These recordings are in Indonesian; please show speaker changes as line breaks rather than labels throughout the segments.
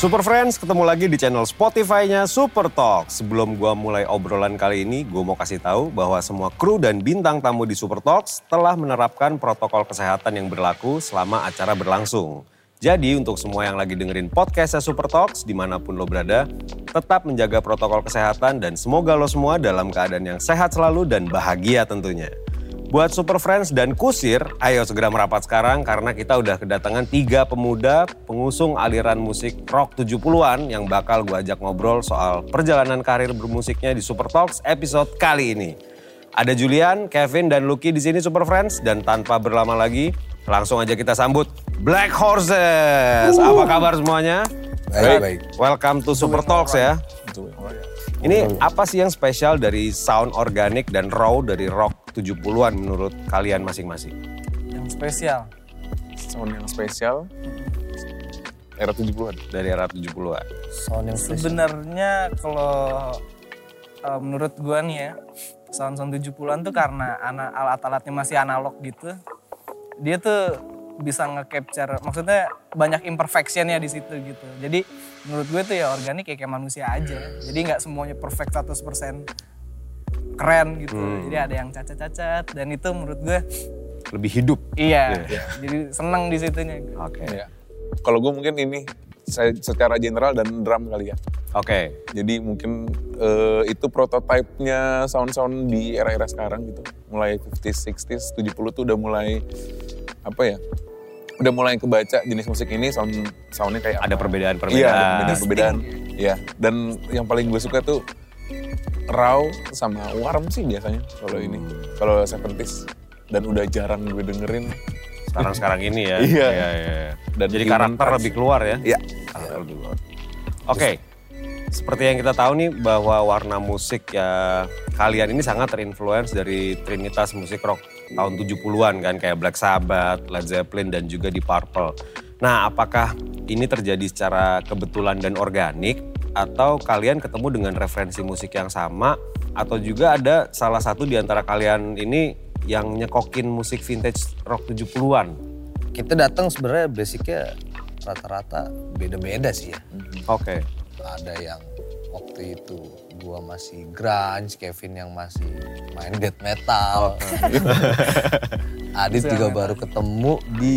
Super Friends ketemu lagi di channel Spotify-nya Super Talk. Sebelum gua mulai obrolan kali ini, gua mau kasih tahu bahwa semua kru dan bintang tamu di Super Talks telah menerapkan protokol kesehatan yang berlaku selama acara berlangsung. Jadi untuk semua yang lagi dengerin podcastnya Super Talks dimanapun lo berada, tetap menjaga protokol kesehatan dan semoga lo semua dalam keadaan yang sehat selalu dan bahagia tentunya. Buat Super Friends dan Kusir, ayo segera merapat sekarang karena kita udah kedatangan tiga pemuda pengusung aliran musik rock 70-an yang bakal gua ajak ngobrol soal perjalanan karir bermusiknya di Super Talks episode kali ini. Ada Julian, Kevin, dan Lucky di sini Super Friends dan tanpa berlama lagi langsung aja kita sambut Black Horses. Apa kabar semuanya?
Baik, baik.
Welcome to Super Talks ya.
Oh,
Ini
iya.
apa sih yang spesial dari sound organik dan raw dari rock 70-an menurut kalian masing-masing?
yang spesial
Sound yang spesial era 70-an.
Dari era 70-an.
Sound yang spesial.
sebenarnya kalau eh, menurut gua nih ya sound sound 70-an tuh karena ana- alat-alatnya masih analog gitu dia tuh bisa nge-capture maksudnya banyak imperfectionnya di situ gitu jadi menurut gue tuh ya organik ya kayak manusia aja jadi nggak semuanya perfect 100% keren gitu
Hmm.
jadi ada yang cacat-cacat dan itu menurut gue
Lebih hidup.
iya jadi seneng di situnya
Oke.
Ya. Kalau gue mungkin ini saya secara general dan drum kali ya.
Oke.
Jadi mungkin eh, itu prototipenya sound-sound di era-era sekarang gitu. Mulai 50s, 60s, 70 tuh udah mulai apa ya? Udah mulai kebaca jenis musik ini sound soundnya
Ada
kayak apa. Iya, ada
perbedaan-perbedaan.
perbedaan-perbedaan. Iya. Dan yang paling gue suka tuh raw sama warm sih biasanya kalau ini. Kalau 70s dan udah jarang gue dengerin.
Sekarang-sekarang ini ya.
Iya.
iya, iya.
Dan
Jadi
human
karakter
touch.
lebih keluar ya.
Iya.
Karakter lebih keluar. Oke. Seperti yang kita tahu nih bahwa warna musik ya kalian ini sangat terinfluence dari trinitas musik rock tahun 70-an kan kayak Black Sabbath, Led Zeppelin dan juga di Purple. Nah, apakah ini terjadi secara kebetulan dan organik atau kalian ketemu dengan referensi musik yang sama atau juga ada salah satu di antara kalian ini yang nyekokin musik vintage rock 70-an?
Kita datang sebenarnya basicnya rata-rata beda-beda sih ya.
Oke.
Ada yang waktu itu gua masih grunge, Kevin yang masih main death metal. Adit juga baru ketemu di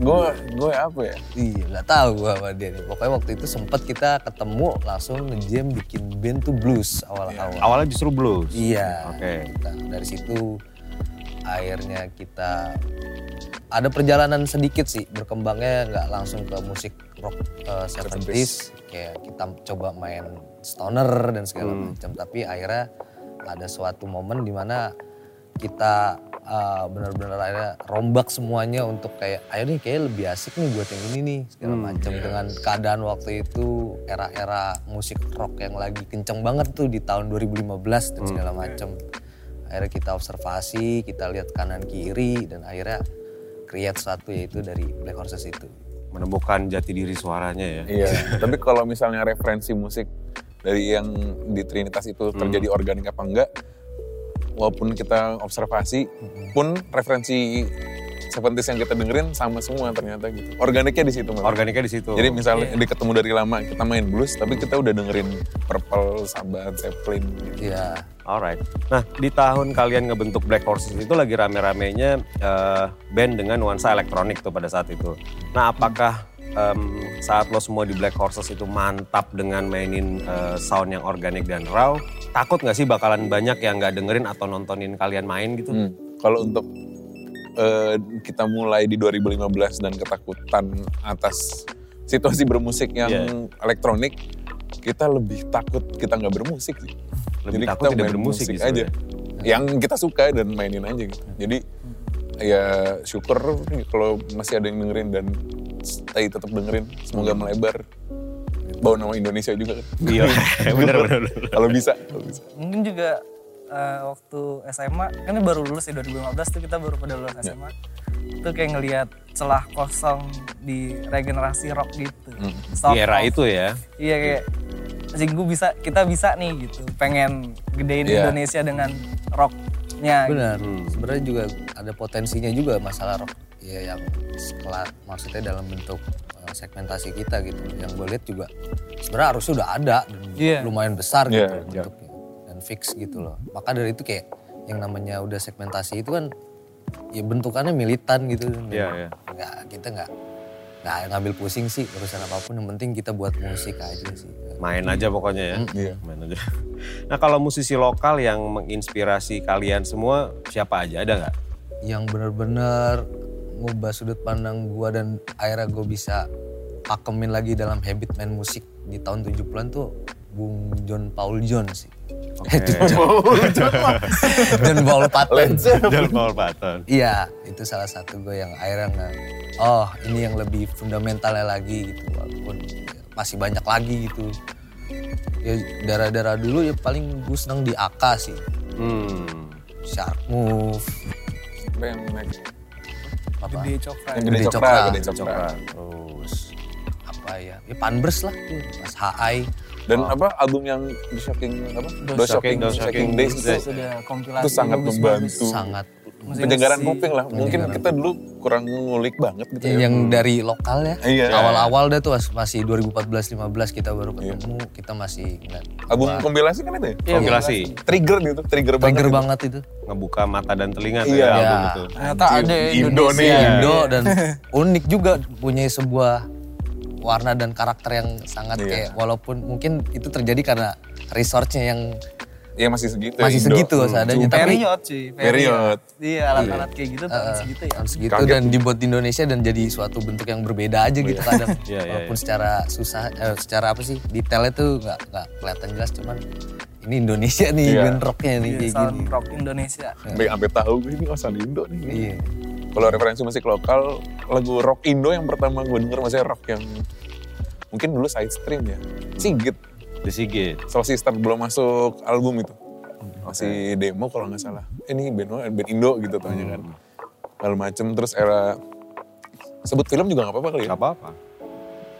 Gue gue apa ya?
Iya, nggak tahu gua sama dia nih. Pokoknya waktu itu sempat kita ketemu langsung ngejam bikin band tuh blues awal-awal.
Awalnya justru blues.
Iya.
Oke.
Kita dari situ akhirnya kita ada perjalanan sedikit sih berkembangnya nggak langsung ke musik rock eh, 70s kayak kita coba main stoner dan segala macam tapi akhirnya ada suatu momen dimana kita eh, benar-benar akhirnya rombak semuanya untuk kayak ayo nih kayak lebih asik nih buat yang ini nih segala macam dengan keadaan waktu itu era-era musik rock yang lagi kenceng banget tuh di tahun 2015 dan segala macam akhirnya kita observasi kita lihat kanan kiri dan akhirnya create satu yaitu dari Black Horses itu
menemukan jati diri suaranya ya.
Iya. Tapi kalau misalnya referensi musik dari yang di Trinitas itu terjadi organik apa enggak, walaupun kita observasi pun referensi 70s yang kita dengerin sama semua ternyata gitu. Organiknya di situ malah.
Organiknya di situ.
Jadi misalnya dia ketemu dari lama kita main blues tapi kita udah dengerin Purple, Sabbath, Zeppelin gitu.
ya
alright. Nah, di tahun kalian ngebentuk Black Horses itu lagi rame-ramenya eh, band dengan nuansa elektronik tuh pada saat itu. Nah, apakah em, saat lo semua di Black Horses itu mantap dengan mainin eh, sound yang organik dan raw, takut nggak sih bakalan banyak yang nggak dengerin atau nontonin kalian main gitu?
Hmm. Kalau untuk eh, kita mulai di 2015 dan ketakutan atas situasi bermusik yang
Iya.
elektronik, kita lebih takut kita nggak bermusik sih.
Lebih takut tidak
main
bermusik gitu ya. sih
aja, yang kita suka dan mainin aja gitu. Jadi ya syukur kalau masih ada yang dengerin dan stay tetap dengerin, semoga melebar. Bawa nama Indonesia juga kan.
Hmm. Iya, bener bener. bener.
kalau bisa, kalau bisa.
mungkin juga eh, waktu SMA kan ini baru lulus ya 2015 tuh kita baru pada lulus SMA itu kayak ngelihat celah kosong di regenerasi rock gitu
Di era itu ya.
iya kayak anjing gue bisa kita bisa nih gitu pengen gedein
Iya.
Indonesia dengan rocknya gitu.
benar Hmm. sebenarnya juga ada potensinya juga masalah rock ya yang sekelas maksudnya dalam bentuk eh, segmentasi kita gitu. Yang gue lihat juga sebenarnya harusnya udah ada dan
Iya.
lumayan besar gitu
Iya, iya.
bentuknya dan fix gitu loh. Maka dari itu kayak yang namanya udah segmentasi itu kan ya bentukannya militan gitu.
Iya, iya.
Nggak, kita nggak nggak ngambil pusing sih urusan apapun yang penting kita buat musik aja sih.
Main aja pokoknya ya.
Iya.
Main aja. Nah kalau musisi lokal yang menginspirasi kalian semua siapa aja ada nggak?
yang bener-bener ngubah sudut pandang gua dan akhirnya gue bisa pakemin lagi dalam habit main musik di tahun 70-an tuh Bung John Paul Jones sih. Eh, John Paul John Paul- John Paul Patton.
John Paul Patton.
Iya, itu salah satu gue yang akhirnya nge- oh ini yang lebih fundamentalnya lagi gitu walaupun ya, masih banyak lagi gitu. Ya darah-darah dulu ya paling gue seneng di AK sih.
Hmm.
Sharp Move,
Apa yang naik?
apa?
Gede coklat.
Yang gede
Gede
cokra,
cokra.
gede cokra.
terus apa ya ya panbers lah tuh mas hai
Dan apa album yang di shocking apa?
Dose
Do
Shocking,
shocking,
Dose Shocking
shocking days
Days.
itu
Itu sudah kompilasi.
itu sangat
bagus-bagus.
membantu.
sangat
Iya. Musik
Penyegaran
si-
kuping lah. Mungkin
Penyegaran Iya.
kita dulu kurang ngulik banget gitu ya.
yang dari lokal ya
Iya.
awal-awal dah tuh mas- masih 2014-15 kita baru ketemu kita masih ngeliat
Album kompilasi kan itu ya?
Iya,
Kompilasi.
Trigger gitu, trigger banget.
trigger
gitu.
banget itu
Ngebuka mata dan telinga
Iya.
ya, album
Iya.
itu.
Ternyata ada
Indonesia.
Indonesia.
Indo dan unik juga punya sebuah warna dan karakter yang sangat
Iya.
kayak walaupun mungkin itu terjadi karena resource-nya yang
Iya masih segitu. ya,
masih
Indo.
segitu seadanya tapi
Period sih.
Period.
Iya alat-alat kayak gitu tahun segitu ya.
tahun segitu
Kaget.
dan dibuat di Indonesia dan jadi suatu bentuk yang berbeda aja gitu
Iya,
kadang
iya,
walaupun secara susah eh, secara apa sih detailnya tuh nggak nggak kelihatan jelas cuman ini Indonesia nih
Iya.
band rocknya nih
Iya,
kayak
Sound
gini
rock Indonesia.
Hmm. Sampai sampai tahu gue ini oh sound Indo nih.
iya
Kalau referensi musik lokal, lagu rock Indo yang pertama gue denger maksudnya rock yang mungkin dulu side stream ya. Sigit,
The Sigit.
Soul Sister belum masuk album itu.
Hmm,
Masih demo kalau nggak salah. Eh, Ini band, band Indo gitu tanya
Hmm.
kan. Lalu macem terus era sebut film juga nggak apa-apa kali ya.
Gak apa-apa.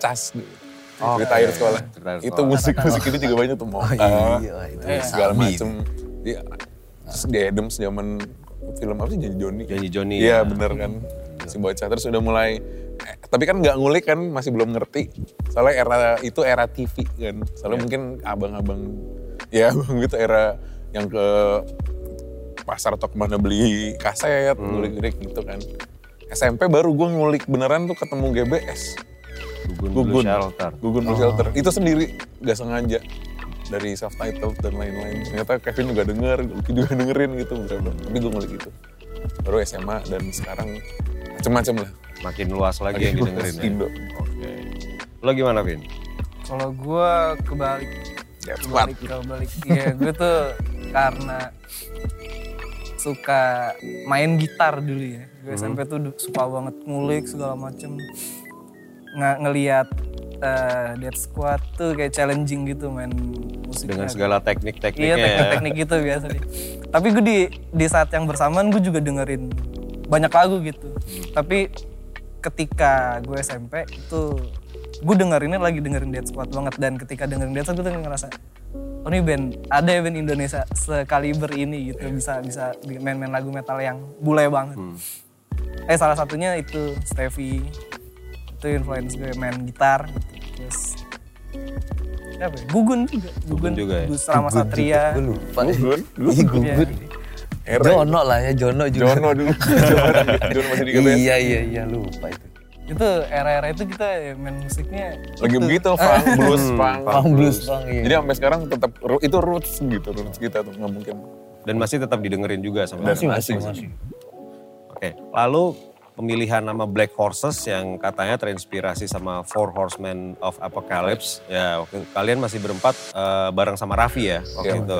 Cas gitu.
Oh,
cerita air
iya,
sekolah.
iya, cerita air
Itu
sekolah.
musik-musik itu juga banyak tuh Ah. mau.
oh, iya wah, itu
Iya.
segala
Sabi.
macem. Iya. Terus di Adams zaman film apa sih Janji Joni?
Janji Joni,
Iya
ya.
bener kan. Si bocah terus udah mulai eh, tapi kan nggak ngulik kan masih belum ngerti. Soalnya era itu era TV kan. Soalnya mungkin abang-abang ya abang itu era yang ke pasar atau kemana beli kaset, ngulik-ngulik gitu kan. SMP baru gue ngulik beneran tuh ketemu GBS.
Gugun, Blue
Gugun.
Shelter.
Gugun Blue Shelter. Itu sendiri gak sengaja dari subtitle dan lain-lain. Ternyata Kevin juga denger, Lucky juga dengerin gitu. bener-bener. Tapi gue ngulik gitu. Baru SMA dan sekarang macem-macem lah.
Makin luas lagi yang didengerin. ya.
Indo.
Oke. Lo gimana, Vin?
Kalau gue kebalik,
Ya,
kebalik, kebalik. Iya, gue tuh karena suka main gitar dulu ya. Gue
Hmm.
SMP tuh du- suka banget ngulik segala macem. Nga, ngeliat eh, Dead Squad tuh kayak challenging gitu main
Dengan
musiknya.
segala
Iya
teknik-tekniknya ya.
teknik-teknik gitu biasa deh. Tapi gue di di saat yang bersamaan gue juga dengerin banyak lagu gitu. Tapi ketika gue SMP itu gue dengerinnya lagi dengerin Dead Squad banget dan ketika dengerin Dead Squad gue tuh ngerasa oh ini band ada ya band Indonesia sekaliber ini gitu bisa bisa main-main lagu metal yang bule banget.
Hmm.
Eh salah satunya itu Stevie itu influence gue main gitar gitu. terus apa ya? Gugun juga Gugun,
juga ya?
Gus Rama Satria
gue lupa
Gugun,
iya gugun
Era
Jono lah ya Jono juga
Jono dulu. Jono masih di GBS.
iya iya iya lupa itu
itu era-era itu kita ya main musiknya
Lagi begitu, Fang. Blues, Fang.
Bang Blues Bang iya
Jadi sampai sekarang tetap ru- itu roots gitu, roots kita tuh nggak mungkin.
Dan masih tetap didengerin juga sama
masih masih masih
Oke, lalu pemilihan nama Black Horses yang katanya terinspirasi sama Four Horsemen of Apocalypse. Ya, waktu kalian masih berempat eh, bareng sama Raffi ya
Iya,
waktu itu.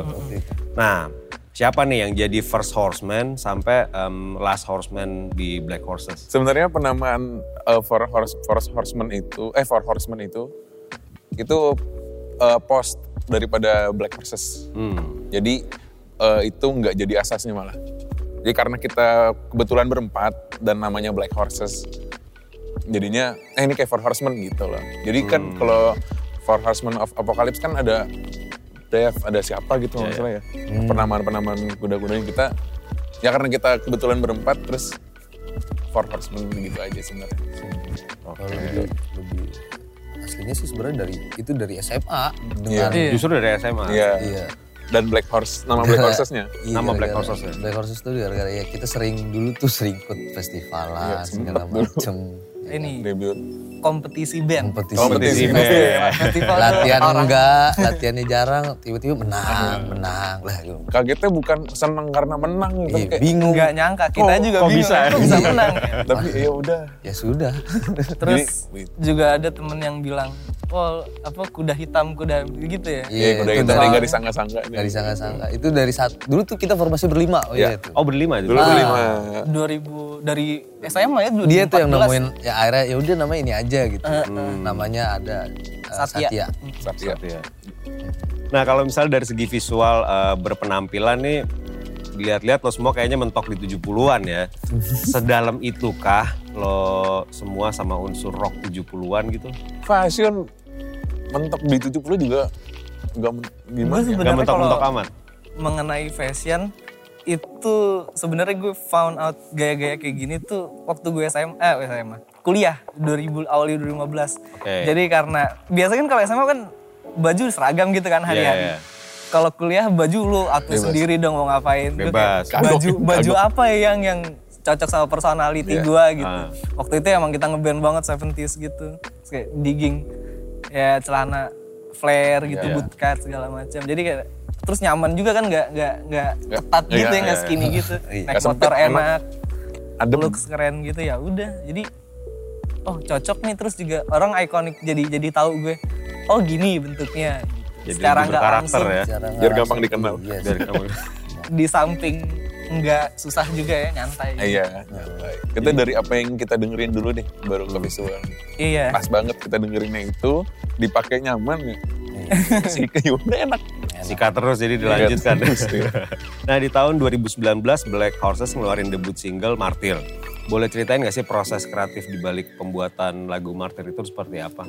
Nah, siapa nih yang jadi First Horseman sampai em, Last Horseman di Black Horses?
Sebenarnya penamaan uh, Four, Horse, Four Horsemen itu, eh Four Horsemen itu, itu uh, post daripada Black Horses.
Hmm,
Jadi eh, itu nggak jadi asasnya malah. Jadi karena kita kebetulan berempat dan namanya Black Horses, jadinya eh ini kayak Four Horsemen gitu loh. Jadi kan kalau Four Horsemen of Apocalypse kan ada Dev, ada siapa gitu maksudnya ya. Penamaan-penamaan kuda-kudanya kita, ya karena kita kebetulan berempat terus Four Horsemen gitu aja sebenarnya.
lebih, lebih aslinya sih sebenarnya dari itu dari SMA dengan
Iya.
Justru dari SMA.
Iya.
iya
Dan Black Horse, nama Black Horsesnya.
Iya,
Nama Black
gara-gara-
Horses ya?
Black Horses tuh gara-gara ya kita sering dulu tuh sering ikut festival
Iya,
lah
sempet
segala
dulu.
macem. Ya,
Ini
Debut.
kompetisi band.
Kompetisi.
Kompetisi
Iya.
band.
Festival tuh
Latihan
orang
enggak, latihannya jarang, tiba-tiba menang, menang lah. gitu.
Kagetnya bukan seneng karena menang gitu.
Iya,
Kayak,
bingung.
nggak nyangka kita
Kok-
juga
kok
bingung.
bisa ya?
Kok bisa
Iya.
menang.
tapi ya udah.
Ya sudah.
Terus
Jadi,
juga ada temen yang bilang, "Oh, apa kuda hitam, kuda gitu ya?"
Iya,
Iya,
udah
itu
itu tadi
dari
gak disangka-sangka. nih.
dari sangka-sangka. Itu dari saat dulu tuh kita formasi berlima. Oh iya
Iya.
itu.
Oh berlima itu.
Dulu
Ah.
lima.
2000 dari SMA ya
Dia tuh yang
2014.
nemuin ya akhirnya ya udah namanya ini aja gitu.
Hmm.
Namanya ada eh,
Satya.
Satya.
Satya.
Satu ya. Nah kalau misalnya dari segi visual eh, berpenampilan nih dilihat-lihat lo semua kayaknya mentok di 70-an ya. Sedalam itukah lo semua sama unsur rock 70-an gitu?
Fashion mentok di 70 juga gak men- gimana
Gue
Iya,
ya.
Gak
sebenarnya
mentok-mentok
kalau
amat.
mengenai fashion itu sebenarnya gue found out gaya-gaya kayak gini tuh waktu gue SMA, eh SMA, kuliah 2000 awal 2015.
Oke.
Jadi karena biasanya kan kalau SMA kan baju seragam gitu kan
Iya, iya.
harian. Kalau kuliah baju lu atur sendiri dong mau ngapain. Gue
Bebas.
kayak, Baju baju apa ya yang yang cocok sama personality gue gitu.
Ah.
Waktu itu emang kita ngeband banget 70s gitu. Terus kayak digging ya celana flare gitu,
Iya.
bootcut segala macam. Jadi kayak terus nyaman juga kan nggak nggak nggak
Nggak-
ketat
iya,
gitu ya nggak
iya,
skinny gitu.
Iya.
Naik
Nggak sempit,
motor
emang.
enak,
Adem.
looks keren gitu ya udah. Jadi oh cocok nih terus juga orang ikonik jadi jadi tahu gue. Oh gini bentuknya.
Jadi
Secara
lebih
nggak
berkarakter
langsung
ya.
Cara
Eh, Biar gampang
ngerasa-
dikenal.
Iya, sih.
Dari kamu.
di samping nggak susah juga ya nyantai.
Iya, nyantai. Kita dari apa yang kita dengerin dulu deh, baru ke visual.
Iya.
Eh.
Pas banget kita dengerinnya itu, dipakai nyaman ya.
Iya.
Si udah enak.
Sikat terus jadi dilanjutkan. nah di tahun 2019 Black Horses ngeluarin debut single Martir. Boleh ceritain gak sih proses kreatif di balik pembuatan lagu Martir itu seperti apa?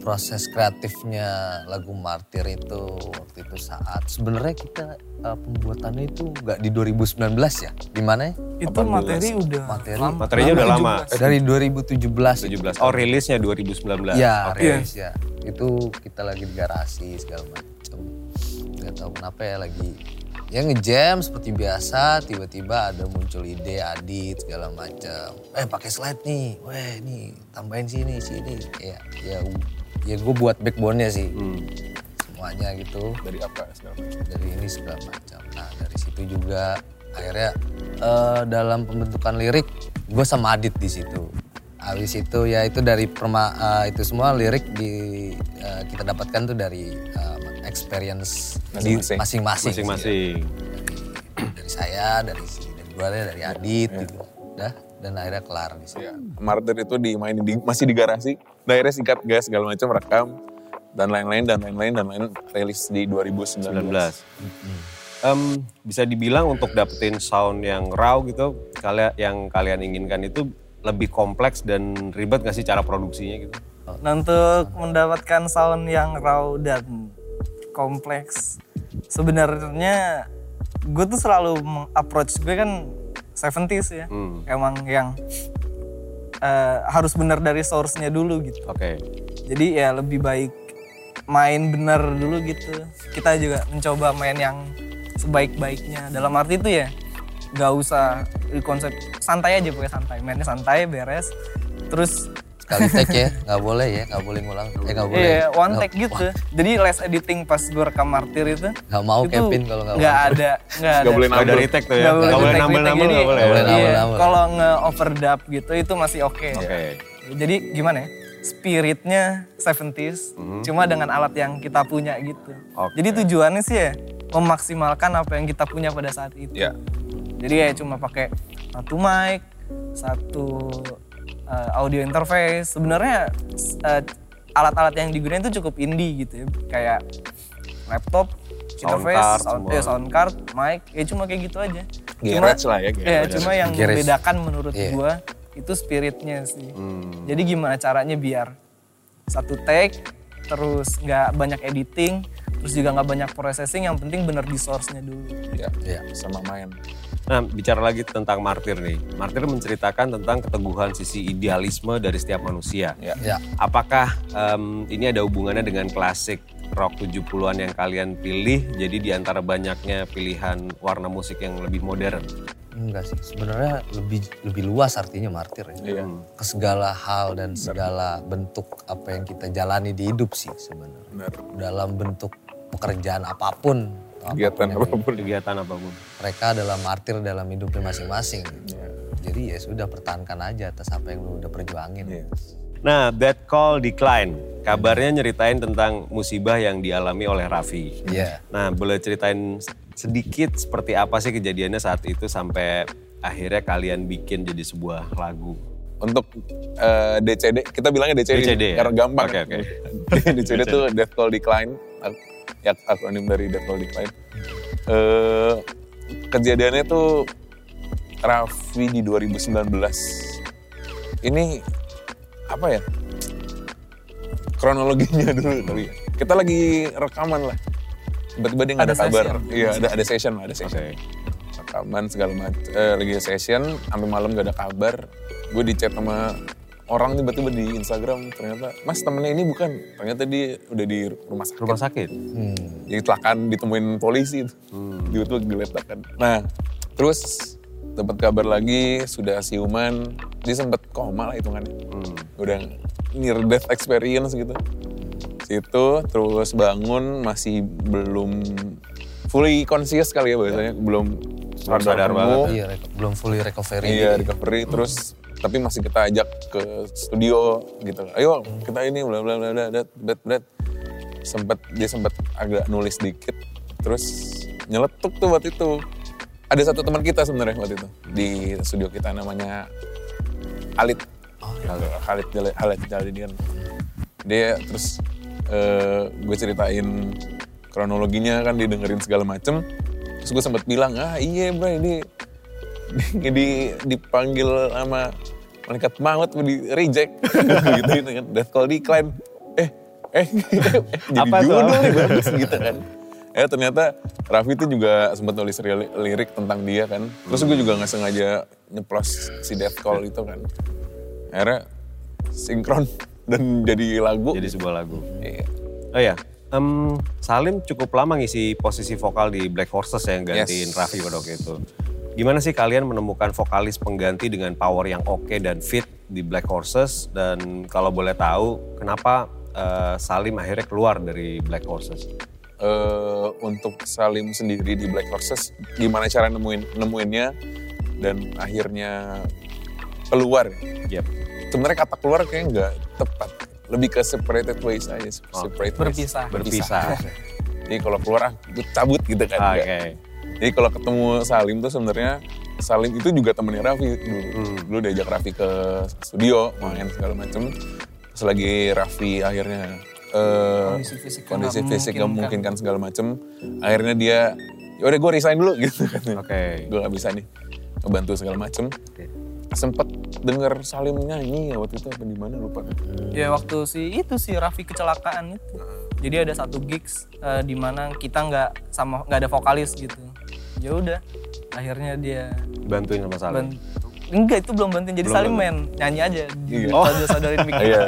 proses kreatifnya lagu Martir itu waktu itu saat sebenarnya kita eh, pembuatannya itu nggak di 2019 ya di mana ya
Itu materi udah
Materi.
lama.
Materinya udah lama.
17.
dari
17.
2017
Oh rilisnya 2019.
ya
Iya, Oke.
rilis ya itu kita lagi di garasi segala macam nggak tahu kenapa ya lagi ya ngejam seperti biasa tiba-tiba ada muncul ide Adit segala macam eh pakai slide nih weh nih tambahin sini sini ya ya ya gue buat backbone-nya sih
Hmm.
semuanya gitu
Dari apa segala macam.
dari ini segala macam. Nah dari situ juga akhirnya eh, dalam pembentukan lirik gue sama Adit di situ. Habis itu ya itu dari perma eh, itu semua lirik di eh, kita dapatkan tuh dari eh, experience di-
Masing-masing.
masing-masing.
Masing-masing.
Dari, dari saya, dari si dari gue, dari Adit gitu. Dah dan akhirnya kelar di situ.
Ya, Martir itu dimainin di, masih di garasi. Daerah sikat gas segala macam rekam dan lain-lain dan lain-lain dan lain rilis di 2019.
19. Em, bisa dibilang untuk dapetin sound yang raw gitu, kalian yang kalian inginkan itu lebih kompleks dan ribet gak sih cara produksinya gitu?
Nah, untuk mendapatkan sound yang raw dan kompleks, sebenarnya gue tuh selalu approach gue kan 70s ya.
Hmm.
Emang yang eh, harus benar dari source-nya dulu gitu.
Oke.
Jadi ya lebih baik main bener dulu gitu. Kita juga mencoba main yang sebaik-baiknya. Dalam arti itu ya gak usah di konsep santai aja pokoknya santai. Mainnya santai, beres. Terus
Sekali take ya, nggak boleh ya, nggak boleh ngulang. Eh nggak boleh.
iya one
Nggak-
take gitu. Jadi less editing pas gue rekam Martir itu.
Nggak mau
itu
Kevin kalau nggak
nggak ada, nggak ada.
Gak boleh
Nggak
nambah.
dari tag tuh ya,
Nggak
nggak boleh
take-take.
nambel-nambel
Jadi,
nggak boleh.
Nggak boleh
ya?
iya,
nambel-nambel.
Kalau nge-overdub gitu itu masih oke.
Oke.
Jadi gimana ya? Spiritnya 70s,
Mhm.
cuma dengan alat yang kita punya gitu.
Oke.
Jadi tujuannya sih ya memaksimalkan apa yang kita punya pada saat itu.
Ya.
Jadi ya cuma pakai satu mic, satu eh, audio interface. Sebenarnya eh, alat-alat yang digunakan itu cukup indie gitu ya. Kayak laptop,
Sound
interface,
card
sound,
semua.
eh, sound card, mic, ya cuma kayak gitu aja.
Garage lah ya,
Iya, cuma yang
Garage.
membedakan menurut
Iya.
gua itu spiritnya sih. Jadi gimana caranya biar satu take terus nggak banyak editing, terus juga nggak banyak processing, yang penting bener di source-nya dulu.
Ya,
Iya.
sama main.
Nah, bicara lagi tentang Martir nih. Martir menceritakan tentang keteguhan sisi idealisme dari setiap manusia.
Ya.
Ya.
Apakah em, ini ada hubungannya dengan klasik rock 70-an yang kalian pilih? Jadi di antara banyaknya pilihan warna musik yang lebih modern.
Enggak sih, sebenarnya lebih lebih luas artinya martir ya.
Iya.
Ke segala hal dan segala bentuk apa yang kita jalani di hidup sih sebenarnya.
Benar.
Dalam bentuk pekerjaan apapun, atau
Kegiatan
Iya,
apapun yang-
apapun.
Kegiatan apapun.
mereka adalah martir dalam hidupnya masing-masing. Jadi ya sudah pertahankan aja atas apa yang lu udah perjuangin.
Iya.
Nah, Bad Call Decline. Kabarnya nyeritain tentang musibah yang dialami oleh Raffi.
Iya.
Nah, boleh ceritain sedikit seperti apa sih kejadiannya saat itu sampai akhirnya kalian bikin jadi sebuah lagu.
Untuk eh, DCD, kita bilangnya DCD,
DCD ya?
karena gampang.
Oke, oke.
DCD itu Death Call Decline, ak- ya akronim dari Death Call Decline. Eh, kejadiannya tuh Raffi di 2019. Ini apa ya? Kronologinya dulu kali ya. Kita lagi rekaman lah. Tiba-tiba dia nggak ada,
Ada
kabar.
session.
Iya, ada ada session lah, ada session rekaman segala macam eh, lagi session sampai malam gak ada kabar gue di chat sama orang tiba-tiba di Instagram ternyata mas temennya ini bukan ternyata dia udah di rumah sakit
Rumah sakit.
Hmm.
jadi kecelakaan ditemuin polisi itu
Hmm.
tiba-tiba diletakkan nah terus dapat kabar lagi sudah siuman dia sempet koma lah hitungannya
Hmm.
udah near death experience gitu situ terus bangun masih belum fully conscious kali ya biasanya belum
Belum sadar
penuh.
banget
Iya, reko- belum fully recovery.
Iya
gitu.
recovery terus tapi masih kita ajak ke studio gitu. Ayo kita ini bla bla bla bla dat dat dat. Sempet dia sempet agak nulis dikit terus nyeletuk tuh waktu itu. Ada satu teman kita sebenarnya waktu itu di studio kita namanya Alit.
Oh, iya.
Khalid Jale- Khalid kan. Jalidian. Dia terus eh, gue ceritain kronologinya kan didengerin segala macem. Terus gue sempet bilang, ah iya bro ini di, dipanggil sama malaikat maut di reject gitu kan death call decline eh eh jadi
Apa tuh?
jodoh nih bagus gitu kan eh ternyata Raffi itu juga sempat nulis ril- lirik tentang dia kan terus gue juga nggak sengaja nyeplos si death call itu kan akhirnya sinkron dan jadi lagu
Jadi sebuah lagu.
Iya.
Oh ya, em, Salim cukup lama ngisi posisi vokal di Black Horses ya, yang gantiin
Yes.
Raffi pada waktu itu. Gimana sih kalian menemukan vokalis pengganti dengan power yang oke dan fit di Black Horses? Dan kalau boleh tahu, kenapa eh, Salim akhirnya keluar dari Black Horses?
eh, untuk Salim sendiri di Black Horses gimana cara nemuin nemuinnya dan akhirnya keluar.
Yep.
Sebenarnya kata keluar kayaknya nggak tepat. Lebih ke separated ways aja. Separate ways.
Berpisah.
Berpisah. Ah,
Jadi kalau keluar ah gue cabut gitu
Oke.
kan. nggak. Jadi kalau ketemu Salim tuh sebenarnya Salim itu juga temennya Raffi dulu. Dulu diajak Raffi ke studio main segala macem. Terus lagi Raffi akhirnya eh,
Kondisi fisiknya
kondisi
nggak
fisik nggak memungkinkan
memungkinkan.
segala macem. Akhirnya dia, yaudah gue resign dulu gitu katanya.
Oke.
Gue nggak bisa nih ngebantu segala macem. Sempet denger Salim nyanyi ya waktu itu apa di mana lupa.
Ya waktu si itu si Raffi kecelakaan itu. Jadi ada satu gigs eh, di mana kita nggak sama nggak ada vokalis gitu. Ya udah, akhirnya dia
Bantuin sama Salim.
ban- enggak itu belum bantuin jadi
Belum
Salim main nyanyi aja. Di
Iya.
oh. saudarin mic.
Iya.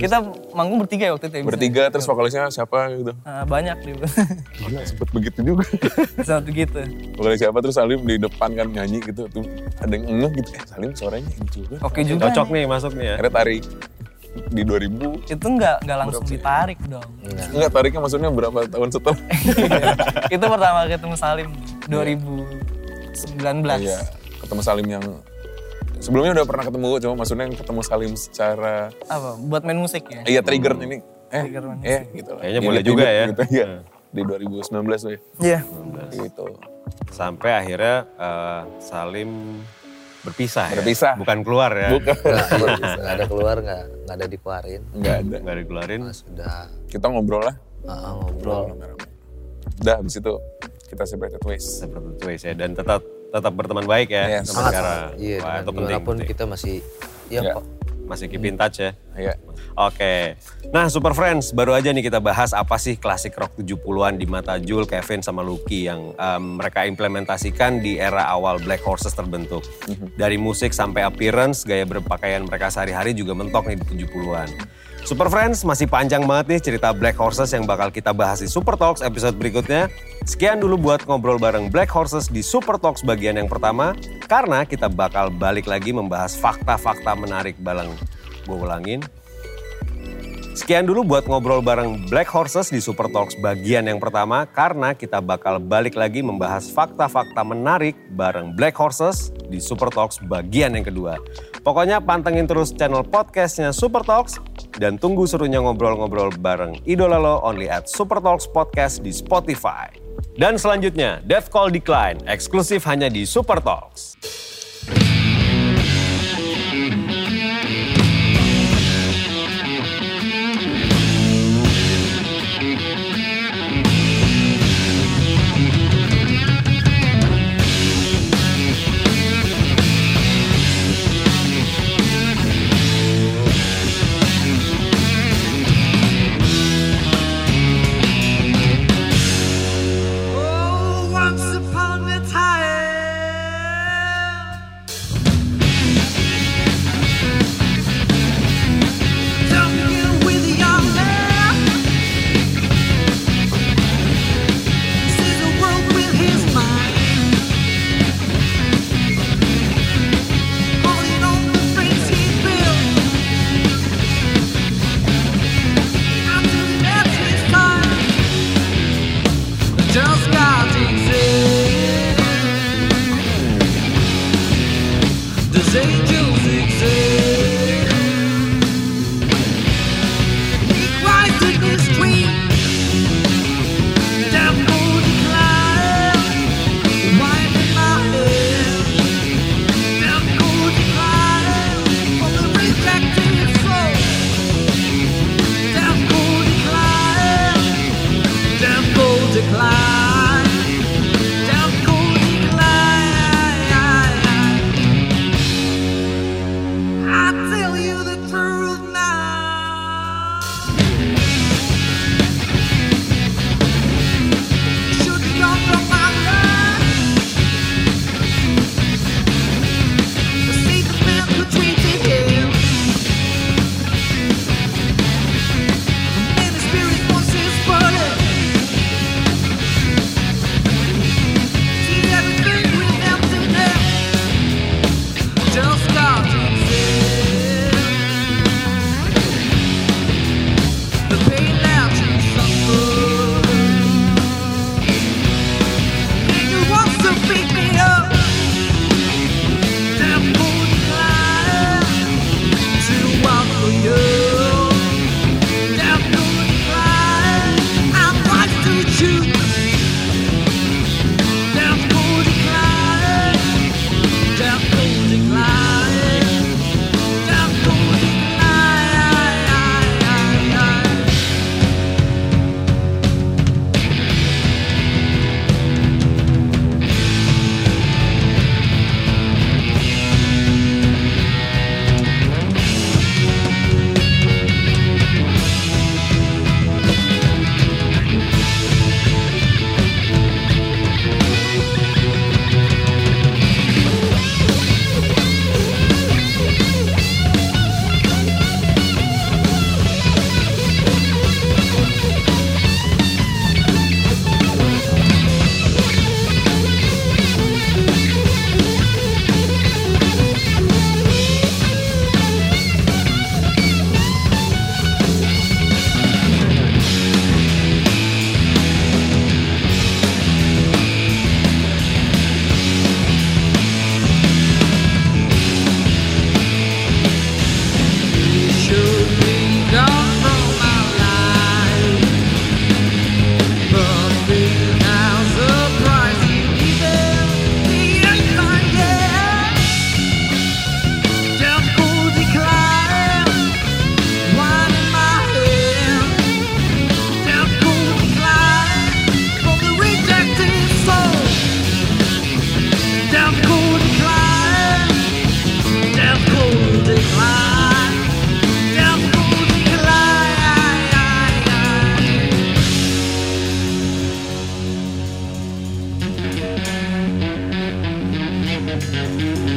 Kita manggung bertiga ya waktu itu. ya, bisa.
Bertiga terus vokalisnya siapa gitu.
Eh, banyak deh.
Gila sempet begitu juga.
Satu gitu.
Bukan siapa terus Salim di depan kan nyanyi gitu tuh ada yang ngeh gitu eh Salim suaranya ini juga
Oke juga.
Cocok nih
nih.
masuk nih ya.
akhirnya tarik di 2000
Itu nggak nggak langsung ditarik dong.
Iya.
enggak tariknya maksudnya berapa tahun setelah
itu pertama ketemu Salim 2019.
iya ketemu Salim yang sebelumnya udah pernah ketemu cuma maksudnya yang ketemu Salim secara
Apa? Buat main musik ya.
iya trigger ini eh
Trigger manis.
eh gitu lah
Kayaknya
Ini
boleh juga
trigger
ya.
gitu, iya. di 2019 tuh ya
Iya.
gitu
Sampai akhirnya eh, Salim berpisah ya.
Berpisah.
Bukan keluar ya.
bukan
Nggak, iya, nggak ada keluar, nggak, nggak ada dikeluarin.
enggak ada
Nggak dikeluarin.
Nah, sudah
kita ngobrol lah
ah, ngobrol.
rame-rame udah habis itu kita separated ways
seperti itu ya dan tetap tetap berteman baik ya
Yes.
sampai sekarang.
Iya,
Wah,
dengan
itu penting.
gimana pun
penting.
kita masih, ya
Iya.
kok,
masih keep in touch ya.
Iya.
Oke. Nah, Super Friends, baru aja nih kita bahas apa sih klasik rock 70-an di mata Jul, Kevin sama Lucky yang em, mereka implementasikan di era awal Black Horses terbentuk. Dari musik sampai appearance, gaya berpakaian mereka sehari-hari juga mentok nih di 70-an. Super Friends masih panjang banget nih cerita Black Horses yang bakal kita bahas di Super Talks episode berikutnya. Sekian dulu buat ngobrol bareng Black Horses di Super Talks bagian yang pertama karena kita bakal balik lagi membahas fakta-fakta menarik bareng gue ulangin Sekian dulu buat ngobrol bareng Black Horses di Super Talks bagian yang pertama karena kita bakal balik lagi membahas fakta-fakta menarik bareng Black Horses di Super Talks bagian yang kedua. Pokoknya pantengin terus channel podcastnya Super Talks dan tunggu serunya ngobrol-ngobrol bareng idola lo only at Super Talks Podcast di Spotify. Dan selanjutnya, Death Call Decline, eksklusif hanya di Super Talks.
Oh, once upon a time. Jumping with a young man. Sees the world with his mind. Holding on to things he built. Until that's his time just got exist. Does angels exist? He cries in his dream. Devil decline. Wind in my head. Devil decline. On the rejected soul. Devil decline. Down gold decline. Down gold decline.
Oke,